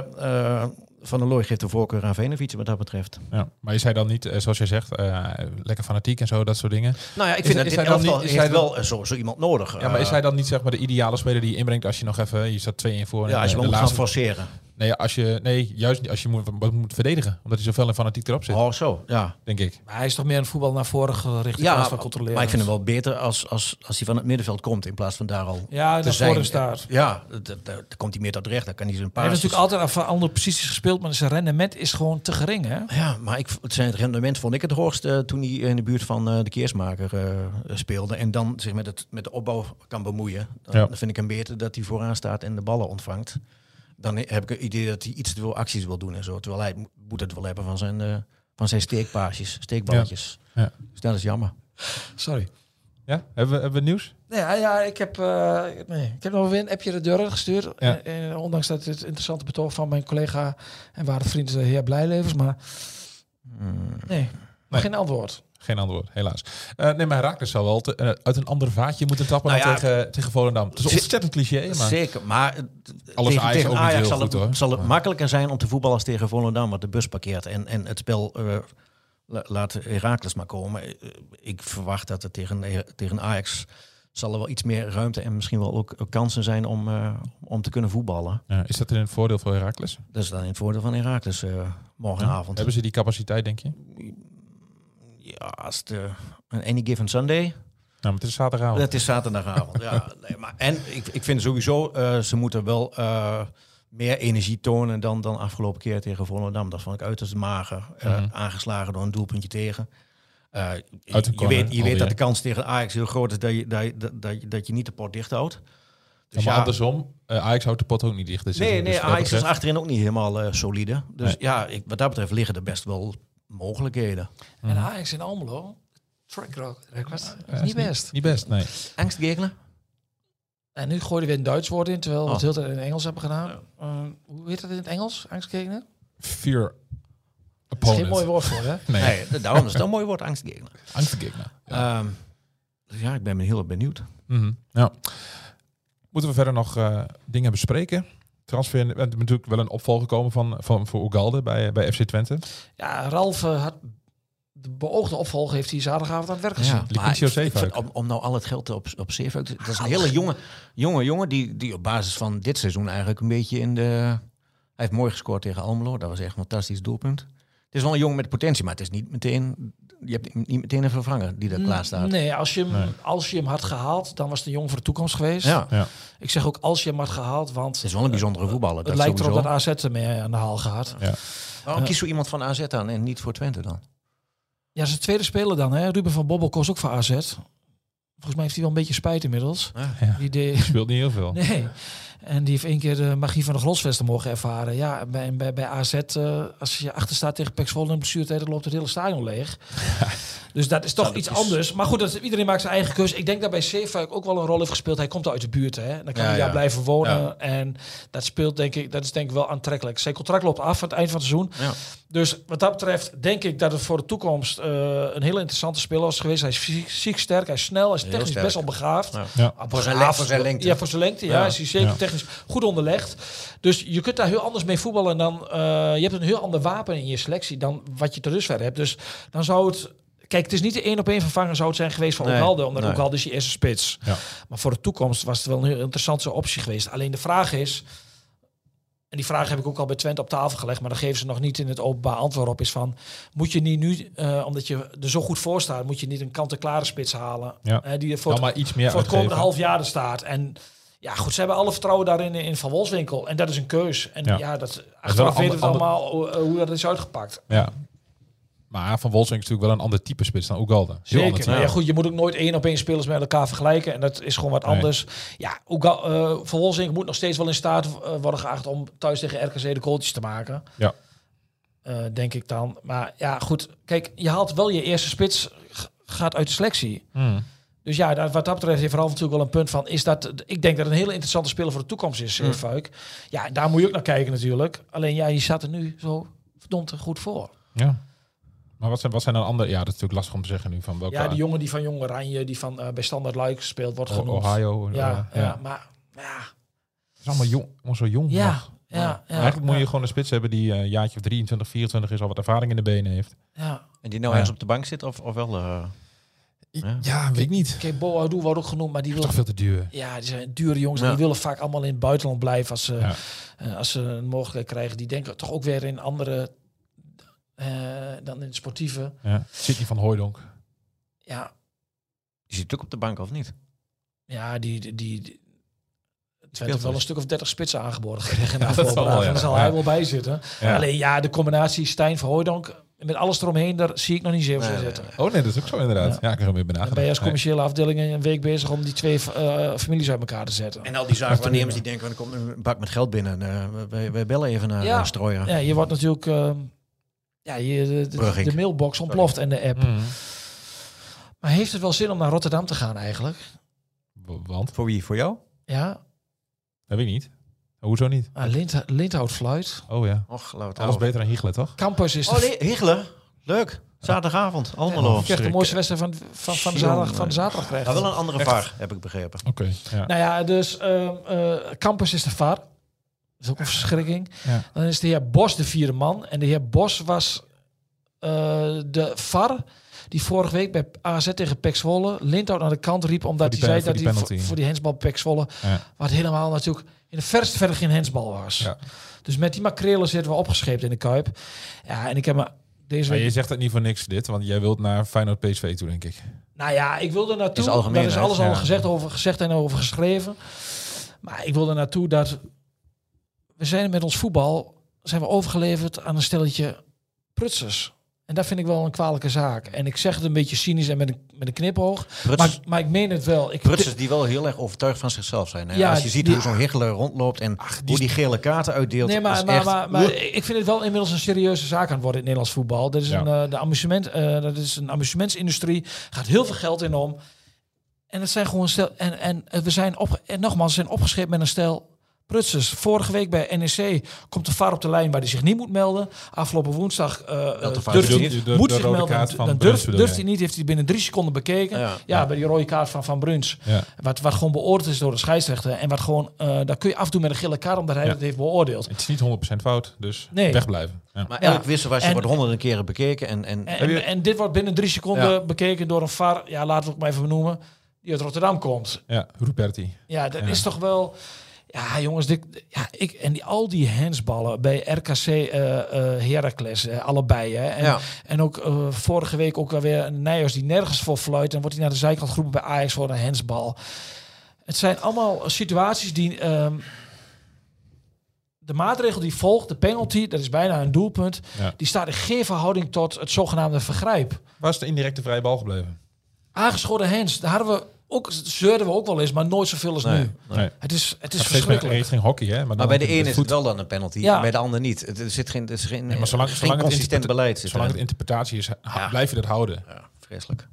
Speaker 5: eh, Van der Looy geeft de voorkeur aan Venevic wat dat betreft.
Speaker 4: Ja. Maar is hij dan niet, eh, zoals jij zegt, eh, lekker fanatiek en zo, dat soort dingen?
Speaker 5: Nou ja, ik
Speaker 4: Is-
Speaker 5: vind
Speaker 4: is
Speaker 5: dat dit
Speaker 4: hij dan
Speaker 5: elftal
Speaker 4: niet- is
Speaker 5: heeft
Speaker 4: hij dan-
Speaker 5: wel eh, zo, zo iemand nodig.
Speaker 4: Ja, maar is
Speaker 5: Eh,
Speaker 4: hij dan niet zeg maar de ideale speler die je inbrengt als je nog even, je staat 2-1 voor.
Speaker 5: Ja,
Speaker 4: en,
Speaker 5: als je
Speaker 4: eh,
Speaker 5: wel
Speaker 4: de
Speaker 5: moet gaan
Speaker 4: laatste,
Speaker 5: forceren.
Speaker 4: nee, als je, nee, juist niet als je moet, wat moet verdedigen. Omdat hij zoveel en fanatiek erop zit,
Speaker 5: Oh, zo. Ja,
Speaker 4: denk ik.
Speaker 6: Maar hij is toch meer een voetbal naar voren gericht in
Speaker 5: ja
Speaker 6: plaats van
Speaker 5: maar
Speaker 6: controleren.
Speaker 5: ik vind hem wel beter als, als, als hij van het middenveld komt in plaats van daar al
Speaker 6: Ja,
Speaker 5: te
Speaker 6: naar
Speaker 5: zijn. eh,
Speaker 6: voren staat.
Speaker 5: Ja, d- d- daar komt hij meer tot recht. Dan kan hij zijn
Speaker 6: Hij
Speaker 5: paas.
Speaker 6: heeft natuurlijk altijd van andere posities gespeeld, maar zijn rendement is gewoon te gering, hè?
Speaker 5: Ja, maar ik, het zijn het rendement vond ik het hoogst eh, toen hij in de buurt van eh, de Keersmaker eh, speelde. En dan zich met, het, met de opbouw kan bemoeien. Dan,
Speaker 4: Ja.
Speaker 5: dan vind ik hem beter dat hij vooraan staat en de ballen ontvangt. Dan heb ik het idee dat hij iets te veel acties wil doen en zo. Terwijl hij mo- moet het wel hebben van zijn, eh, van zijn steekpaasjes, steekballetjes.
Speaker 4: Ja. Ja.
Speaker 5: Dus dat is jammer.
Speaker 6: Sorry.
Speaker 4: Ja, hebben we, hebben we nieuws?
Speaker 6: Nee, ja, ja, ik, heb, eh, nee, ik heb nog weer een appje de deur gestuurd.
Speaker 4: Ja.
Speaker 6: Eh, eh, ondanks dat het interessante betoog van mijn collega en waarde vriend de heer Blijlevens. Maar nee, geen antwoord.
Speaker 4: Geen antwoord, helaas. Eh, nee, maar Herakles zou wel te- eh, uit een ander vaatje moeten tappen
Speaker 5: Nou
Speaker 4: dan
Speaker 5: ja,
Speaker 4: tegen, tegen Volendam. Het is
Speaker 5: ze-
Speaker 4: ontzettend cliché, maar...
Speaker 5: Zeker, maar eh,
Speaker 4: Alles Ajax
Speaker 5: tegen, tegen
Speaker 4: ook niet heel
Speaker 5: Ajax zal,
Speaker 4: goed, hoor.
Speaker 5: het, zal het
Speaker 4: Maar-
Speaker 5: makkelijker zijn om te voetballen als tegen Volendam, wat de bus parkeert. En, en het spel eh, la- laat Herakles maar komen. Eh, Ik verwacht dat er tegen, eh, tegen Ajax zal er wel iets meer ruimte en misschien wel ook kansen zijn om, eh, om te kunnen voetballen.
Speaker 4: Ja, is dat in het voordeel voor Herakles?
Speaker 5: Dat is dan in het voordeel van Herakles eh, morgenavond.
Speaker 4: Hebben ze die capaciteit, denk je? Nou,
Speaker 5: Ja, als het, eh, een any given Sunday.
Speaker 4: Nou, maar het is zaterdagavond.
Speaker 5: Dat is zaterdagavond. ja, nee, maar, en ik, ik vind sowieso, eh, ze moeten wel eh, meer energie tonen dan, dan afgelopen keer tegen Volendam. Dat vond ik uiterst mager. eh,
Speaker 4: Mhm.
Speaker 5: Aangeslagen door een doelpuntje tegen. Eh,
Speaker 4: Uit
Speaker 5: je
Speaker 4: een corner,
Speaker 5: weet, je
Speaker 4: alweer.
Speaker 5: weet dat de kans tegen Ajax heel groot is dat je, dat je, dat, dat je, dat je niet de pot dicht houdt. Dus
Speaker 4: Ja, maar andersom, eh, Ajax houdt de pot ook niet dicht. dit
Speaker 5: Nee,
Speaker 4: seizoen.
Speaker 5: nee
Speaker 4: Dus wat dat
Speaker 5: Ajax is
Speaker 4: betreft-
Speaker 5: achterin ook niet helemaal eh, solide. Dus
Speaker 4: Nee.
Speaker 5: ja, ik, wat dat betreft liggen er best wel mogelijkheden.
Speaker 6: En Ajax in Almelo, track record, is
Speaker 4: Ja,
Speaker 6: niet best.
Speaker 4: Niet best, nee.
Speaker 5: Angstgegner?
Speaker 6: En nu gooiden we weer een Duits woord in, terwijl we het heel tijd in Engels hebben gedaan. Eh, hoe heet dat in het Engels? Angstgegner?
Speaker 4: Fear
Speaker 6: Dat is geen
Speaker 4: opponent.
Speaker 6: mooi woord voor, hè?
Speaker 4: Nee,
Speaker 5: Nee, daarom is het een mooi woord, angstgegner.
Speaker 4: angstgegner. Ja.
Speaker 5: Ehm, dus ja, ik ben heel benieuwd.
Speaker 4: Mhm, ja. Moeten we verder nog eh, dingen bespreken? Transfer, eh, er is natuurlijk wel een opvolger komen van, van, voor Ugalde bij, bij FC Twente.
Speaker 6: Ja, Ralf eh, had de beoogde opvolger heeft hij zaterdagavond aan het werk gezien.
Speaker 5: Ja,
Speaker 4: Licentie
Speaker 5: maar ik-
Speaker 4: op
Speaker 5: ik
Speaker 4: Zeefuik.
Speaker 5: vind om, om nou al het geld op, op Zeefuik... te- Dat is een hele jonge, jonge jongen die, die op basis van dit seizoen eigenlijk een beetje in de... Hij heeft mooi gescoord tegen Almelo. Dat was echt een fantastisch doelpunt. Het is wel een jongen met potentie, maar het is niet meteen... Je hebt niet meteen een vervanger die daar klaar staat.
Speaker 6: Nee, als je, hem,
Speaker 4: Nee.
Speaker 6: als je hem had gehaald, dan was de jong voor de toekomst geweest.
Speaker 5: Ja,
Speaker 4: Ja.
Speaker 6: Ik zeg ook als je hem had gehaald, want
Speaker 5: het is wel een bijzondere voetballer.
Speaker 6: het
Speaker 5: Dat
Speaker 6: lijkt erop
Speaker 5: sowieso.
Speaker 6: dat AZ ermee aan de haal gaat. Ja,
Speaker 4: Ja.
Speaker 5: Waarom kiest zo iemand van AZ aan en niet voor Twente dan?
Speaker 6: dat is de tweede speler dan. Hè? Ruben van Bobbel kost ook voor AZ. Volgens mij heeft hij wel een beetje spijt inmiddels.
Speaker 4: Ja.
Speaker 6: Die deed...
Speaker 4: Speelt niet heel veel.
Speaker 6: Nee. En die heeft één keer de magie van de grosvesten mogen ervaren. Ja, bij, bij, bij AZ, eh, als je achter staat tegen Pek Zwolle in blessuretijd, dan loopt het hele stadion leeg. Dus dat is toch iets anders. Maar goed, dat, is- iedereen maakt zijn eigen keus. Ik denk dat bij Zeefuik ook wel een rol heeft gespeeld. Hij komt uit de buurt, hè. Dan kan
Speaker 5: Ja,
Speaker 6: hij daar
Speaker 5: ja.
Speaker 6: blijven wonen.
Speaker 5: Ja.
Speaker 6: En dat speelt, denk ik, dat is denk ik wel aantrekkelijk. Zijn contract loopt af aan het eind van het seizoen.
Speaker 5: Ja.
Speaker 6: Dus wat dat betreft denk ik dat het voor de toekomst eh, een hele interessante speler is geweest. Hij is fysiek, fysiek sterk, hij is snel, hij is technisch
Speaker 5: sterk.
Speaker 6: best wel begaafd.
Speaker 5: Ja.
Speaker 4: Ja.
Speaker 6: Ah,
Speaker 5: Voor zijn
Speaker 6: begaafd.
Speaker 5: le- voor zijn lengte.
Speaker 6: Ja, voor zijn lengte. Ja,
Speaker 5: Ja.
Speaker 6: is hij zeker
Speaker 4: Ja.
Speaker 6: technisch goed onderlegd. Dus je kunt daar heel anders mee voetballen dan... eh, je hebt een heel ander wapen in je selectie dan wat je tot dusver hebt. Dus dan zou het... Kijk, het is niet de één op één vervanger zou het zijn geweest van
Speaker 5: Nee,
Speaker 6: Ronaldo. Omdat
Speaker 5: nee.
Speaker 6: Ronaldo is je eerste spits.
Speaker 4: Ja.
Speaker 6: Maar voor de toekomst was het wel een heel interessante optie geweest. Alleen de vraag is... En die vraag heb ik ook al bij Twente op tafel gelegd, maar daar geven ze nog niet in het openbaar antwoord op. Is van, moet je niet nu, eh, omdat je er zo goed voor staat, moet je niet een kant-en-klare spits halen?
Speaker 4: Ja.
Speaker 6: eh, die er voor
Speaker 4: Dan
Speaker 6: het-
Speaker 4: Nou, maar iets meer
Speaker 6: voor het komende
Speaker 4: uitgeven.
Speaker 6: half jaar er staat. En ja, goed, ze hebben alle vertrouwen daarin in Van Wolfswinkel. En dat is een keus. En
Speaker 4: Ja.
Speaker 6: ja, dat, achteraf
Speaker 4: ander-
Speaker 6: weten we het
Speaker 4: ander-
Speaker 6: allemaal hoe, eh, hoe dat is uitgepakt.
Speaker 4: Ja. Maar Van Wolfswinkel is natuurlijk wel een ander type spits dan Ugalde. Heel ander
Speaker 6: Zeker.
Speaker 4: type.
Speaker 6: Maar ja, goed, je moet ook nooit één op één spelers met elkaar vergelijken. En dat is gewoon wat
Speaker 4: Nee.
Speaker 6: anders. Ja, Oega- eh Van Wolfswinkel moet nog steeds wel in staat eh, worden geacht om thuis tegen RKC de goaltjes te maken.
Speaker 4: Ja.
Speaker 6: Eh, denk ik dan. Maar ja, goed. Kijk, je haalt wel je eerste spits, g- gaat uit de selectie.
Speaker 4: Mhm.
Speaker 6: Dus ja, dat- wat dat betreft heeft vooral natuurlijk wel een punt van... is dat, ik denk dat het een hele interessante speler voor de toekomst is,
Speaker 4: Mm.
Speaker 6: eh, Fuik. Ja, daar moet je ook naar kijken natuurlijk. Alleen ja, je staat er nu zo verdomd goed voor.
Speaker 4: Ja. Maar wat zijn, wat zijn dan andere... Ja, dat is natuurlijk lastig om te zeggen nu. Van welke
Speaker 6: Ja, die jongen die van Jong Oranje, die van eh, bij Standard Luik speelt, wordt
Speaker 4: O-
Speaker 6: genoemd.
Speaker 4: Ohio. eh,
Speaker 6: ja, ja,
Speaker 4: ja.
Speaker 6: maar ja,
Speaker 4: Het is allemaal jong, allemaal zo jong.
Speaker 6: ja,
Speaker 4: nog.
Speaker 6: ja, ja,
Speaker 4: Eigenlijk moet je gewoon een spits hebben die eh, een jaartje of 23, 24 is, al wat ervaring in de benen heeft.
Speaker 6: Ja.
Speaker 5: En die nou
Speaker 4: Ja.
Speaker 5: eens op de bank zit of, of wel... eh, Ja.
Speaker 4: weet ik niet.
Speaker 6: Kijk, Bo Adou wordt ook genoemd, maar die
Speaker 4: is
Speaker 6: wil...
Speaker 4: toch veel te duur.
Speaker 6: Ja, die zijn dure jongens.
Speaker 5: Ja.
Speaker 6: Die willen vaak allemaal in het buitenland blijven als ze,
Speaker 4: Ja.
Speaker 6: eh, als ze een mogelijkheid krijgen. Die denken toch ook weer in andere eh, dan in het sportieve.
Speaker 4: Ja. Sydney van Hooydonk.
Speaker 6: Ja,
Speaker 5: die zit ook op de bank of niet?
Speaker 6: ja die, die, die, die Twente
Speaker 5: Speelt
Speaker 6: heeft
Speaker 5: wel
Speaker 6: wel
Speaker 5: eens.
Speaker 6: een stuk of 30 spitsen aangeboden gekregen. in de
Speaker 4: Ja, dat
Speaker 6: afgelopen
Speaker 4: zal wel,
Speaker 6: dagen.
Speaker 4: ja.
Speaker 6: Daar zal
Speaker 4: Ja.
Speaker 6: hij wel bij zitten.
Speaker 4: Ja.
Speaker 6: Alleen ja, de combinatie Stijn van Hooydonk met alles eromheen, daar zie ik nog niet zeven
Speaker 5: Nee,
Speaker 6: nee,
Speaker 5: nee,
Speaker 6: zitten.
Speaker 4: Oh nee, dat is ook zo inderdaad. Ja, ik heb er weer
Speaker 6: Dan
Speaker 4: benaderd.
Speaker 6: ben je als commerciële afdeling een week bezig om die twee eh, families uit elkaar te zetten.
Speaker 5: En al die zaakwaarnemers die denken, er komt een bak met geld binnen. eh, we- we, we bellen even naar
Speaker 6: Ja.
Speaker 5: eh, Strooijer.
Speaker 6: Ja, je wordt natuurlijk... eh, ja, je, de- de,
Speaker 5: Brugging.
Speaker 6: de mailbox ontploft en de app.
Speaker 4: Mm.
Speaker 6: Maar heeft het wel zin om naar Rotterdam te gaan eigenlijk?
Speaker 4: W- Want?
Speaker 5: Voor wie? Voor jou?
Speaker 6: Ja,
Speaker 4: Mm. Dat weet ik niet. Oh, Hoezo niet?
Speaker 6: ah, Lind, Lindhout fluit.
Speaker 4: Oh ja.
Speaker 5: Och, laat
Speaker 4: Alles beter dan Hiegelen, toch?
Speaker 6: Campus is
Speaker 5: Oh,
Speaker 6: de,
Speaker 5: nee, Hichelen. Leuk. Zaterdagavond. Almelo.
Speaker 6: echt de mooiste wedstrijd van, van, van, de, zaterdag, van de zaterdag krijgt.
Speaker 5: Maar wel een andere vaar, heb ik begrepen.
Speaker 4: Oké. Ja.
Speaker 6: Nou ja, dus ehm, eh, Campus is de VAR. Dat is ook een verschrikking.
Speaker 4: Ja.
Speaker 6: Dan is de heer Bos de vierde man. En de heer Bos was eh, de VAR die vorige week bij AZ tegen Pek Zwolle Lindhout naar de kant riep omdat
Speaker 4: Voor die
Speaker 6: hij zei dat
Speaker 4: pen- voor die
Speaker 6: hij voor,
Speaker 4: penalty.
Speaker 6: voor die hensbal Pek Zwolle
Speaker 4: Ja.
Speaker 6: wat helemaal natuurlijk in de verste verder geen hensbal was.
Speaker 4: Ja.
Speaker 6: Dus met die makrelen zitten we opgescheept in de Kuip. Ja, en ik heb me deze
Speaker 4: Maar
Speaker 6: week
Speaker 4: je zegt het niet voor niks dit, want jij wilt naar Feyenoord PSV toe, denk ik.
Speaker 6: Nou ja, ik wilde naartoe.
Speaker 5: Is algemeen,
Speaker 6: Daar is
Speaker 5: hè?
Speaker 6: alles al
Speaker 4: Ja.
Speaker 6: gezegd, over gezegd en over geschreven. Maar ik wilde naartoe dat we zijn met ons voetbal zijn we overgeleverd aan een stelletje prutsers. En dat vind ik wel een kwalijke zaak. En ik zeg het een beetje cynisch en met een, met een knipoog. Maar,
Speaker 5: Prutsers,
Speaker 6: maar ik meen het wel. Ik,
Speaker 5: prutsers die wel heel erg overtuigd van zichzelf zijn. Hè?
Speaker 6: Ja,
Speaker 5: Als je ziet
Speaker 6: die-
Speaker 5: hoe zo'n Hichelen rondloopt en hoe die gele kaarten uitdeelt.
Speaker 6: Nee,
Speaker 5: dat
Speaker 6: maar,
Speaker 5: is
Speaker 6: maar,
Speaker 5: echt-
Speaker 6: maar, maar ik vind het wel inmiddels een serieuze zaak aan het worden in het Nederlands voetbal. Dat is,
Speaker 4: Ja.
Speaker 6: een, eh, de amusement, eh, dat is een amusement-industrie. gaat heel veel geld in om. En En het zijn gewoon stel. En, en eh, we zijn op, en nogmaals, we zijn opgescheept met een stel prutsers. Vorige week bij NEC komt de VAR op de lijn waar hij zich niet moet melden. Afgelopen woensdag eh,
Speaker 5: de VAR
Speaker 6: durft
Speaker 5: zich
Speaker 6: hij
Speaker 4: niet.
Speaker 6: niet.
Speaker 4: De- de
Speaker 6: Moet zich
Speaker 4: rode
Speaker 6: melden.
Speaker 4: kaart
Speaker 6: Dan-
Speaker 4: van
Speaker 6: dan
Speaker 4: Bruns
Speaker 6: durft,
Speaker 4: bedoel
Speaker 6: durft
Speaker 4: jij?
Speaker 6: hij niet. Heeft hij binnen drie seconden bekeken.
Speaker 5: Ja.
Speaker 6: Ja, bij die rode kaart van Van Bruns.
Speaker 4: Ja.
Speaker 6: Wat, wat gewoon beoordeeld is door de scheidsrechter. En wat gewoon, eh, daar kun je afdoen met een gele kaart omdat hij
Speaker 4: Ja.
Speaker 6: dat heeft beoordeeld.
Speaker 4: Het is niet 100% fout, dus
Speaker 6: Nee.
Speaker 4: wegblijven. Ja.
Speaker 5: Maar
Speaker 6: Ja.
Speaker 5: elk wisselwasje
Speaker 6: En-
Speaker 5: wordt honderden keren bekeken. En, en,
Speaker 6: En,
Speaker 4: Heb je-
Speaker 6: en, en dit wordt binnen drie seconden
Speaker 5: Ja.
Speaker 6: bekeken door een VAR. Ja, laten we het maar even benoemen. Die uit Rotterdam komt.
Speaker 4: ja, Ruperti.
Speaker 6: Ja, dat
Speaker 4: Ja.
Speaker 6: is toch wel. Ja, jongens, dit, ja, ik, en die, al die hensballen bij RKC eh, eh, Heracles, eh, allebei. Hè. En,
Speaker 5: Ja.
Speaker 6: en ook eh, vorige week ook alweer een Nijers die nergens voor fluit. En wordt hij naar de zijkant geroepen bij Ajax voor een hensbal. Het zijn allemaal situaties die... ehm, de maatregel die volgt, de penalty, dat is bijna een doelpunt.
Speaker 4: Ja.
Speaker 6: Die staat in geen verhouding tot het zogenaamde vergrijp.
Speaker 4: Waar is de indirecte vrije bal gebleven?
Speaker 6: Aangeschoren hens, daar hadden we ook, zeurden we ook wel eens, maar nooit zoveel als
Speaker 5: Nee.
Speaker 6: nu.
Speaker 4: Nee. Het
Speaker 6: Het is, het is
Speaker 4: is verschrikkelijk.
Speaker 6: verschrikkelijk.
Speaker 4: Geen, geen hockey, hè? dan
Speaker 5: maar bij de
Speaker 4: met
Speaker 5: ene is
Speaker 4: voet.
Speaker 5: het wel dan een penalty,
Speaker 6: Ja.
Speaker 5: en bij de ander niet. Het- Er zit geen, er is geen,
Speaker 4: Ja, maar zolang,
Speaker 5: geen
Speaker 4: zolang, het,
Speaker 5: consistent
Speaker 4: interpre-
Speaker 5: beleid. Zit
Speaker 4: zolang het
Speaker 5: erin.
Speaker 4: interpretatie is, ha-
Speaker 5: Ja.
Speaker 4: blijf je dat houden.
Speaker 5: ja, vreselijk.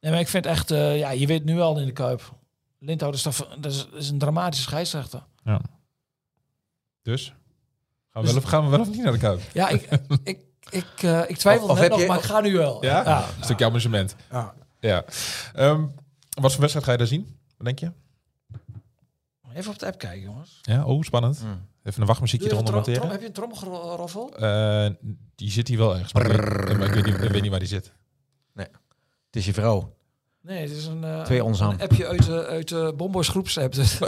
Speaker 6: Nee, maar ik vind echt, eh, ja, je weet nu al in de Kuip. Lindhout is, toch- dat is, is een dramatische scheidsrechter.
Speaker 4: Dus gaan we,
Speaker 6: Dus-
Speaker 4: wel, of, gaan we wel of niet naar de kuip?
Speaker 6: Ja, ik, ik, ik, eh, ik twijfel
Speaker 5: Of- of
Speaker 6: net
Speaker 5: heb
Speaker 6: nog,
Speaker 5: je-
Speaker 6: maar ik ga nu wel.
Speaker 4: Ja? Een stukje amusement.
Speaker 6: Ja.
Speaker 4: Ja. Ehm, wat voor wedstrijd ga je daar zien? Wat denk je?
Speaker 6: Even op de app kijken, jongens.
Speaker 4: Ja, oh, spannend. Even een wachtmuziekje
Speaker 6: Doe je even
Speaker 4: eronder
Speaker 6: trom- trom-
Speaker 4: monteren.
Speaker 6: heb je een tromgeroffel?
Speaker 4: Eh, die zit hier wel ergens. Maar ik, weet, maar ik weet niet, ik weet niet waar die zit.
Speaker 5: Het is je vrouw.
Speaker 6: Nee, het is een, eh,
Speaker 5: Twee ons aan.
Speaker 6: een appje uit de, uit de Bomboys groepsapp. Dus-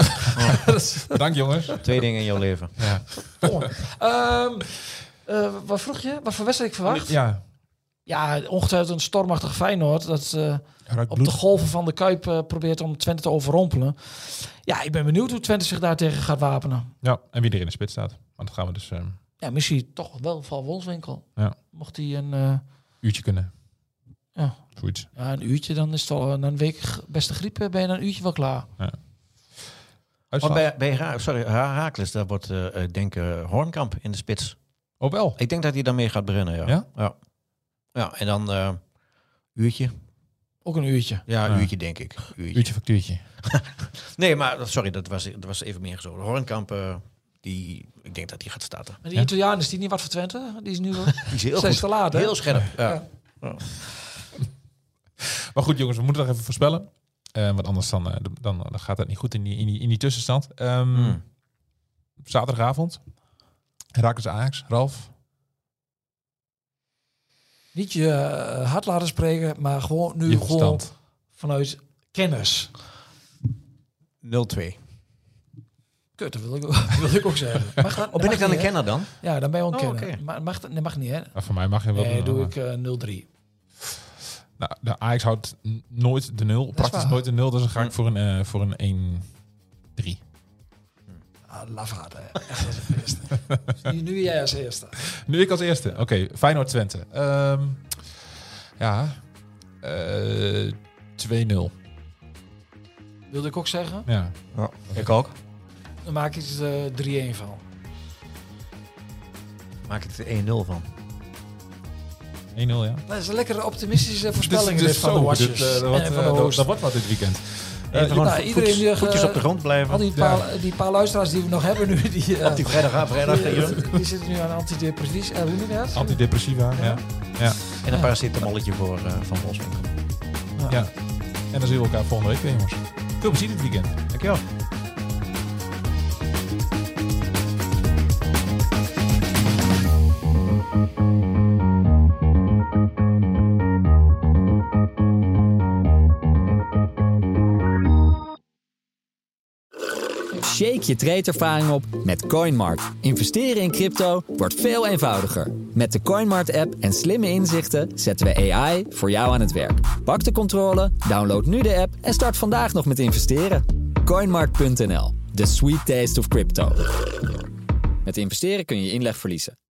Speaker 6: Dat is-
Speaker 4: Bedankt, jongens.
Speaker 5: Oh. Twee dingen in jouw leven.
Speaker 4: Ja.
Speaker 6: kom. Ehm, eh, wat vroeg je? Wat voor wedstrijd ik verwacht? Ja,
Speaker 4: ja.
Speaker 6: ongetwijfeld een stormachtig Feyenoord. Dat, eh,
Speaker 4: Ruikt
Speaker 6: op de
Speaker 4: bloed.
Speaker 6: golven van de Kuip eh, probeert om Twente te overrompelen. Ja, ik ben benieuwd hoe Twente zich daartegen gaat wapenen.
Speaker 4: Ja, en wie er in de spits staat. Maar dat gaan we dus eh, een
Speaker 6: Ja, misschien toch wel van Wolfswinkel.
Speaker 4: Ja.
Speaker 6: Mocht hij een, eh,
Speaker 4: uurtje kunnen.
Speaker 6: Ja.
Speaker 4: Zoiets.
Speaker 6: ja, een uurtje, dan is het al eh, na een week g- beste griep, eh, ben je na een uurtje wel klaar.
Speaker 5: Want
Speaker 4: Uitslag.
Speaker 5: bij, bij Ra- sorry, Ra- Heracles, daar wordt eh, eh, denk eh, Hoornkamp in de spits.
Speaker 4: Oh, wel.
Speaker 5: Ik denk dat hij daarmee gaat beginnen, ja.
Speaker 4: Ja?
Speaker 5: Ja, Ja, en dan eh, uurtje.
Speaker 6: Ook een uurtje.
Speaker 5: Ja,
Speaker 4: Ja.
Speaker 5: uurtje denk ik. Uurtje.
Speaker 4: Uurtje factuurtje.
Speaker 5: Nee, maar sorry, dat was, dat was even meer zo. Hoornkamp, eh, die, ik denk dat die gaat starten.
Speaker 6: Maar die
Speaker 4: Ja.
Speaker 6: Italiaan is die niet wat voor Twente? Die is nu wel
Speaker 5: Die is heel
Speaker 6: zijn
Speaker 5: goed.
Speaker 6: te laat, hè?
Speaker 5: Heel scherp. Ja.
Speaker 6: Ja.
Speaker 4: Maar goed, jongens, we moeten dat even voorspellen. Eh, want anders dan, eh, dan, dan gaat dat niet goed in die, in die, in die tussenstand. Ehm,
Speaker 5: Hmm.
Speaker 4: Zaterdagavond. Raken ze Ajax. Ralf.
Speaker 6: Niet je eh, hard laten spreken, maar gewoon nu
Speaker 4: Je
Speaker 6: gewoon
Speaker 4: verstand.
Speaker 6: vanuit kennis.
Speaker 5: 0-2.
Speaker 6: Kut, dat wil ik, ook- wil ik ook zeggen. Mag dat,
Speaker 5: Oh,
Speaker 6: dat
Speaker 5: ben
Speaker 6: mag
Speaker 5: ik dan
Speaker 6: niet,
Speaker 5: een
Speaker 6: hè?
Speaker 5: kenner dan?
Speaker 6: Ja, dan ben je wel een
Speaker 5: Oh,
Speaker 6: kenner.
Speaker 5: oké.
Speaker 6: Maar mag, dat nee, mag niet, hè?
Speaker 4: Nou, voor mij mag je wel.
Speaker 6: Nee,
Speaker 4: doen,
Speaker 6: doe ik
Speaker 4: maar-
Speaker 6: eh, 0-3.
Speaker 4: Nou, de Ajax houdt n- nooit de nul. Praktisch
Speaker 6: waar.
Speaker 4: nooit de nul. Dus dan ga ik voor een, eh, voor een 1-3.
Speaker 6: Ah, lafaard, hè. Echt als een eerste. Nu- nu jij als eerste.
Speaker 4: Nu ik als eerste. Oké, Feyenoord Twente. Ehm, ja. Eh, 2-0.
Speaker 6: Wilde ik ook zeggen.
Speaker 4: Ja.
Speaker 5: Ik ook.
Speaker 6: Dan maak ik het eh, 3-1 van.
Speaker 5: Maak ik er 1-0 van.
Speaker 4: 1-0, ja.
Speaker 6: Dat is een lekkere optimistische voorspelling
Speaker 4: Dit is- dit
Speaker 6: dit
Speaker 4: is
Speaker 6: van de
Speaker 4: zo.
Speaker 6: Watchers.
Speaker 4: Dit, eh, dat
Speaker 6: en
Speaker 4: wordt,
Speaker 6: van
Speaker 4: eh,
Speaker 6: de
Speaker 4: dat-
Speaker 6: host.
Speaker 4: Dat wordt wat dit weekend. Eh,
Speaker 5: Even gewoon
Speaker 6: nou,
Speaker 5: voetjes-
Speaker 6: iedereen die, eh,
Speaker 5: voetjes op de grond blijven.
Speaker 6: Al die paar, die paar luisteraars die we nog hebben nu, die, eh,
Speaker 5: Op die vrijdag aan, vrijdag
Speaker 6: die,
Speaker 5: tegen.
Speaker 6: die zitten nu aan antidepressies. Eh, hoe noem je dat?
Speaker 4: Antidepressiva, ja.
Speaker 5: En een paracetamolletje voor eh, Van Wolfswinkel.
Speaker 4: Ja. En dan zien we elkaar volgende week weer, jongens. Veel plezier dit weekend.
Speaker 5: Dankjewel.
Speaker 1: Shake je trade-ervaring op met CoinMart. Investeren in crypto wordt veel eenvoudiger. Met de CoinMart-app en slimme inzichten zetten we AI voor jou aan het werk. Pak de controle, download nu de app en start vandaag nog met investeren. CoinMart.nl, the sweet taste of crypto. Met investeren kun je inleg verliezen.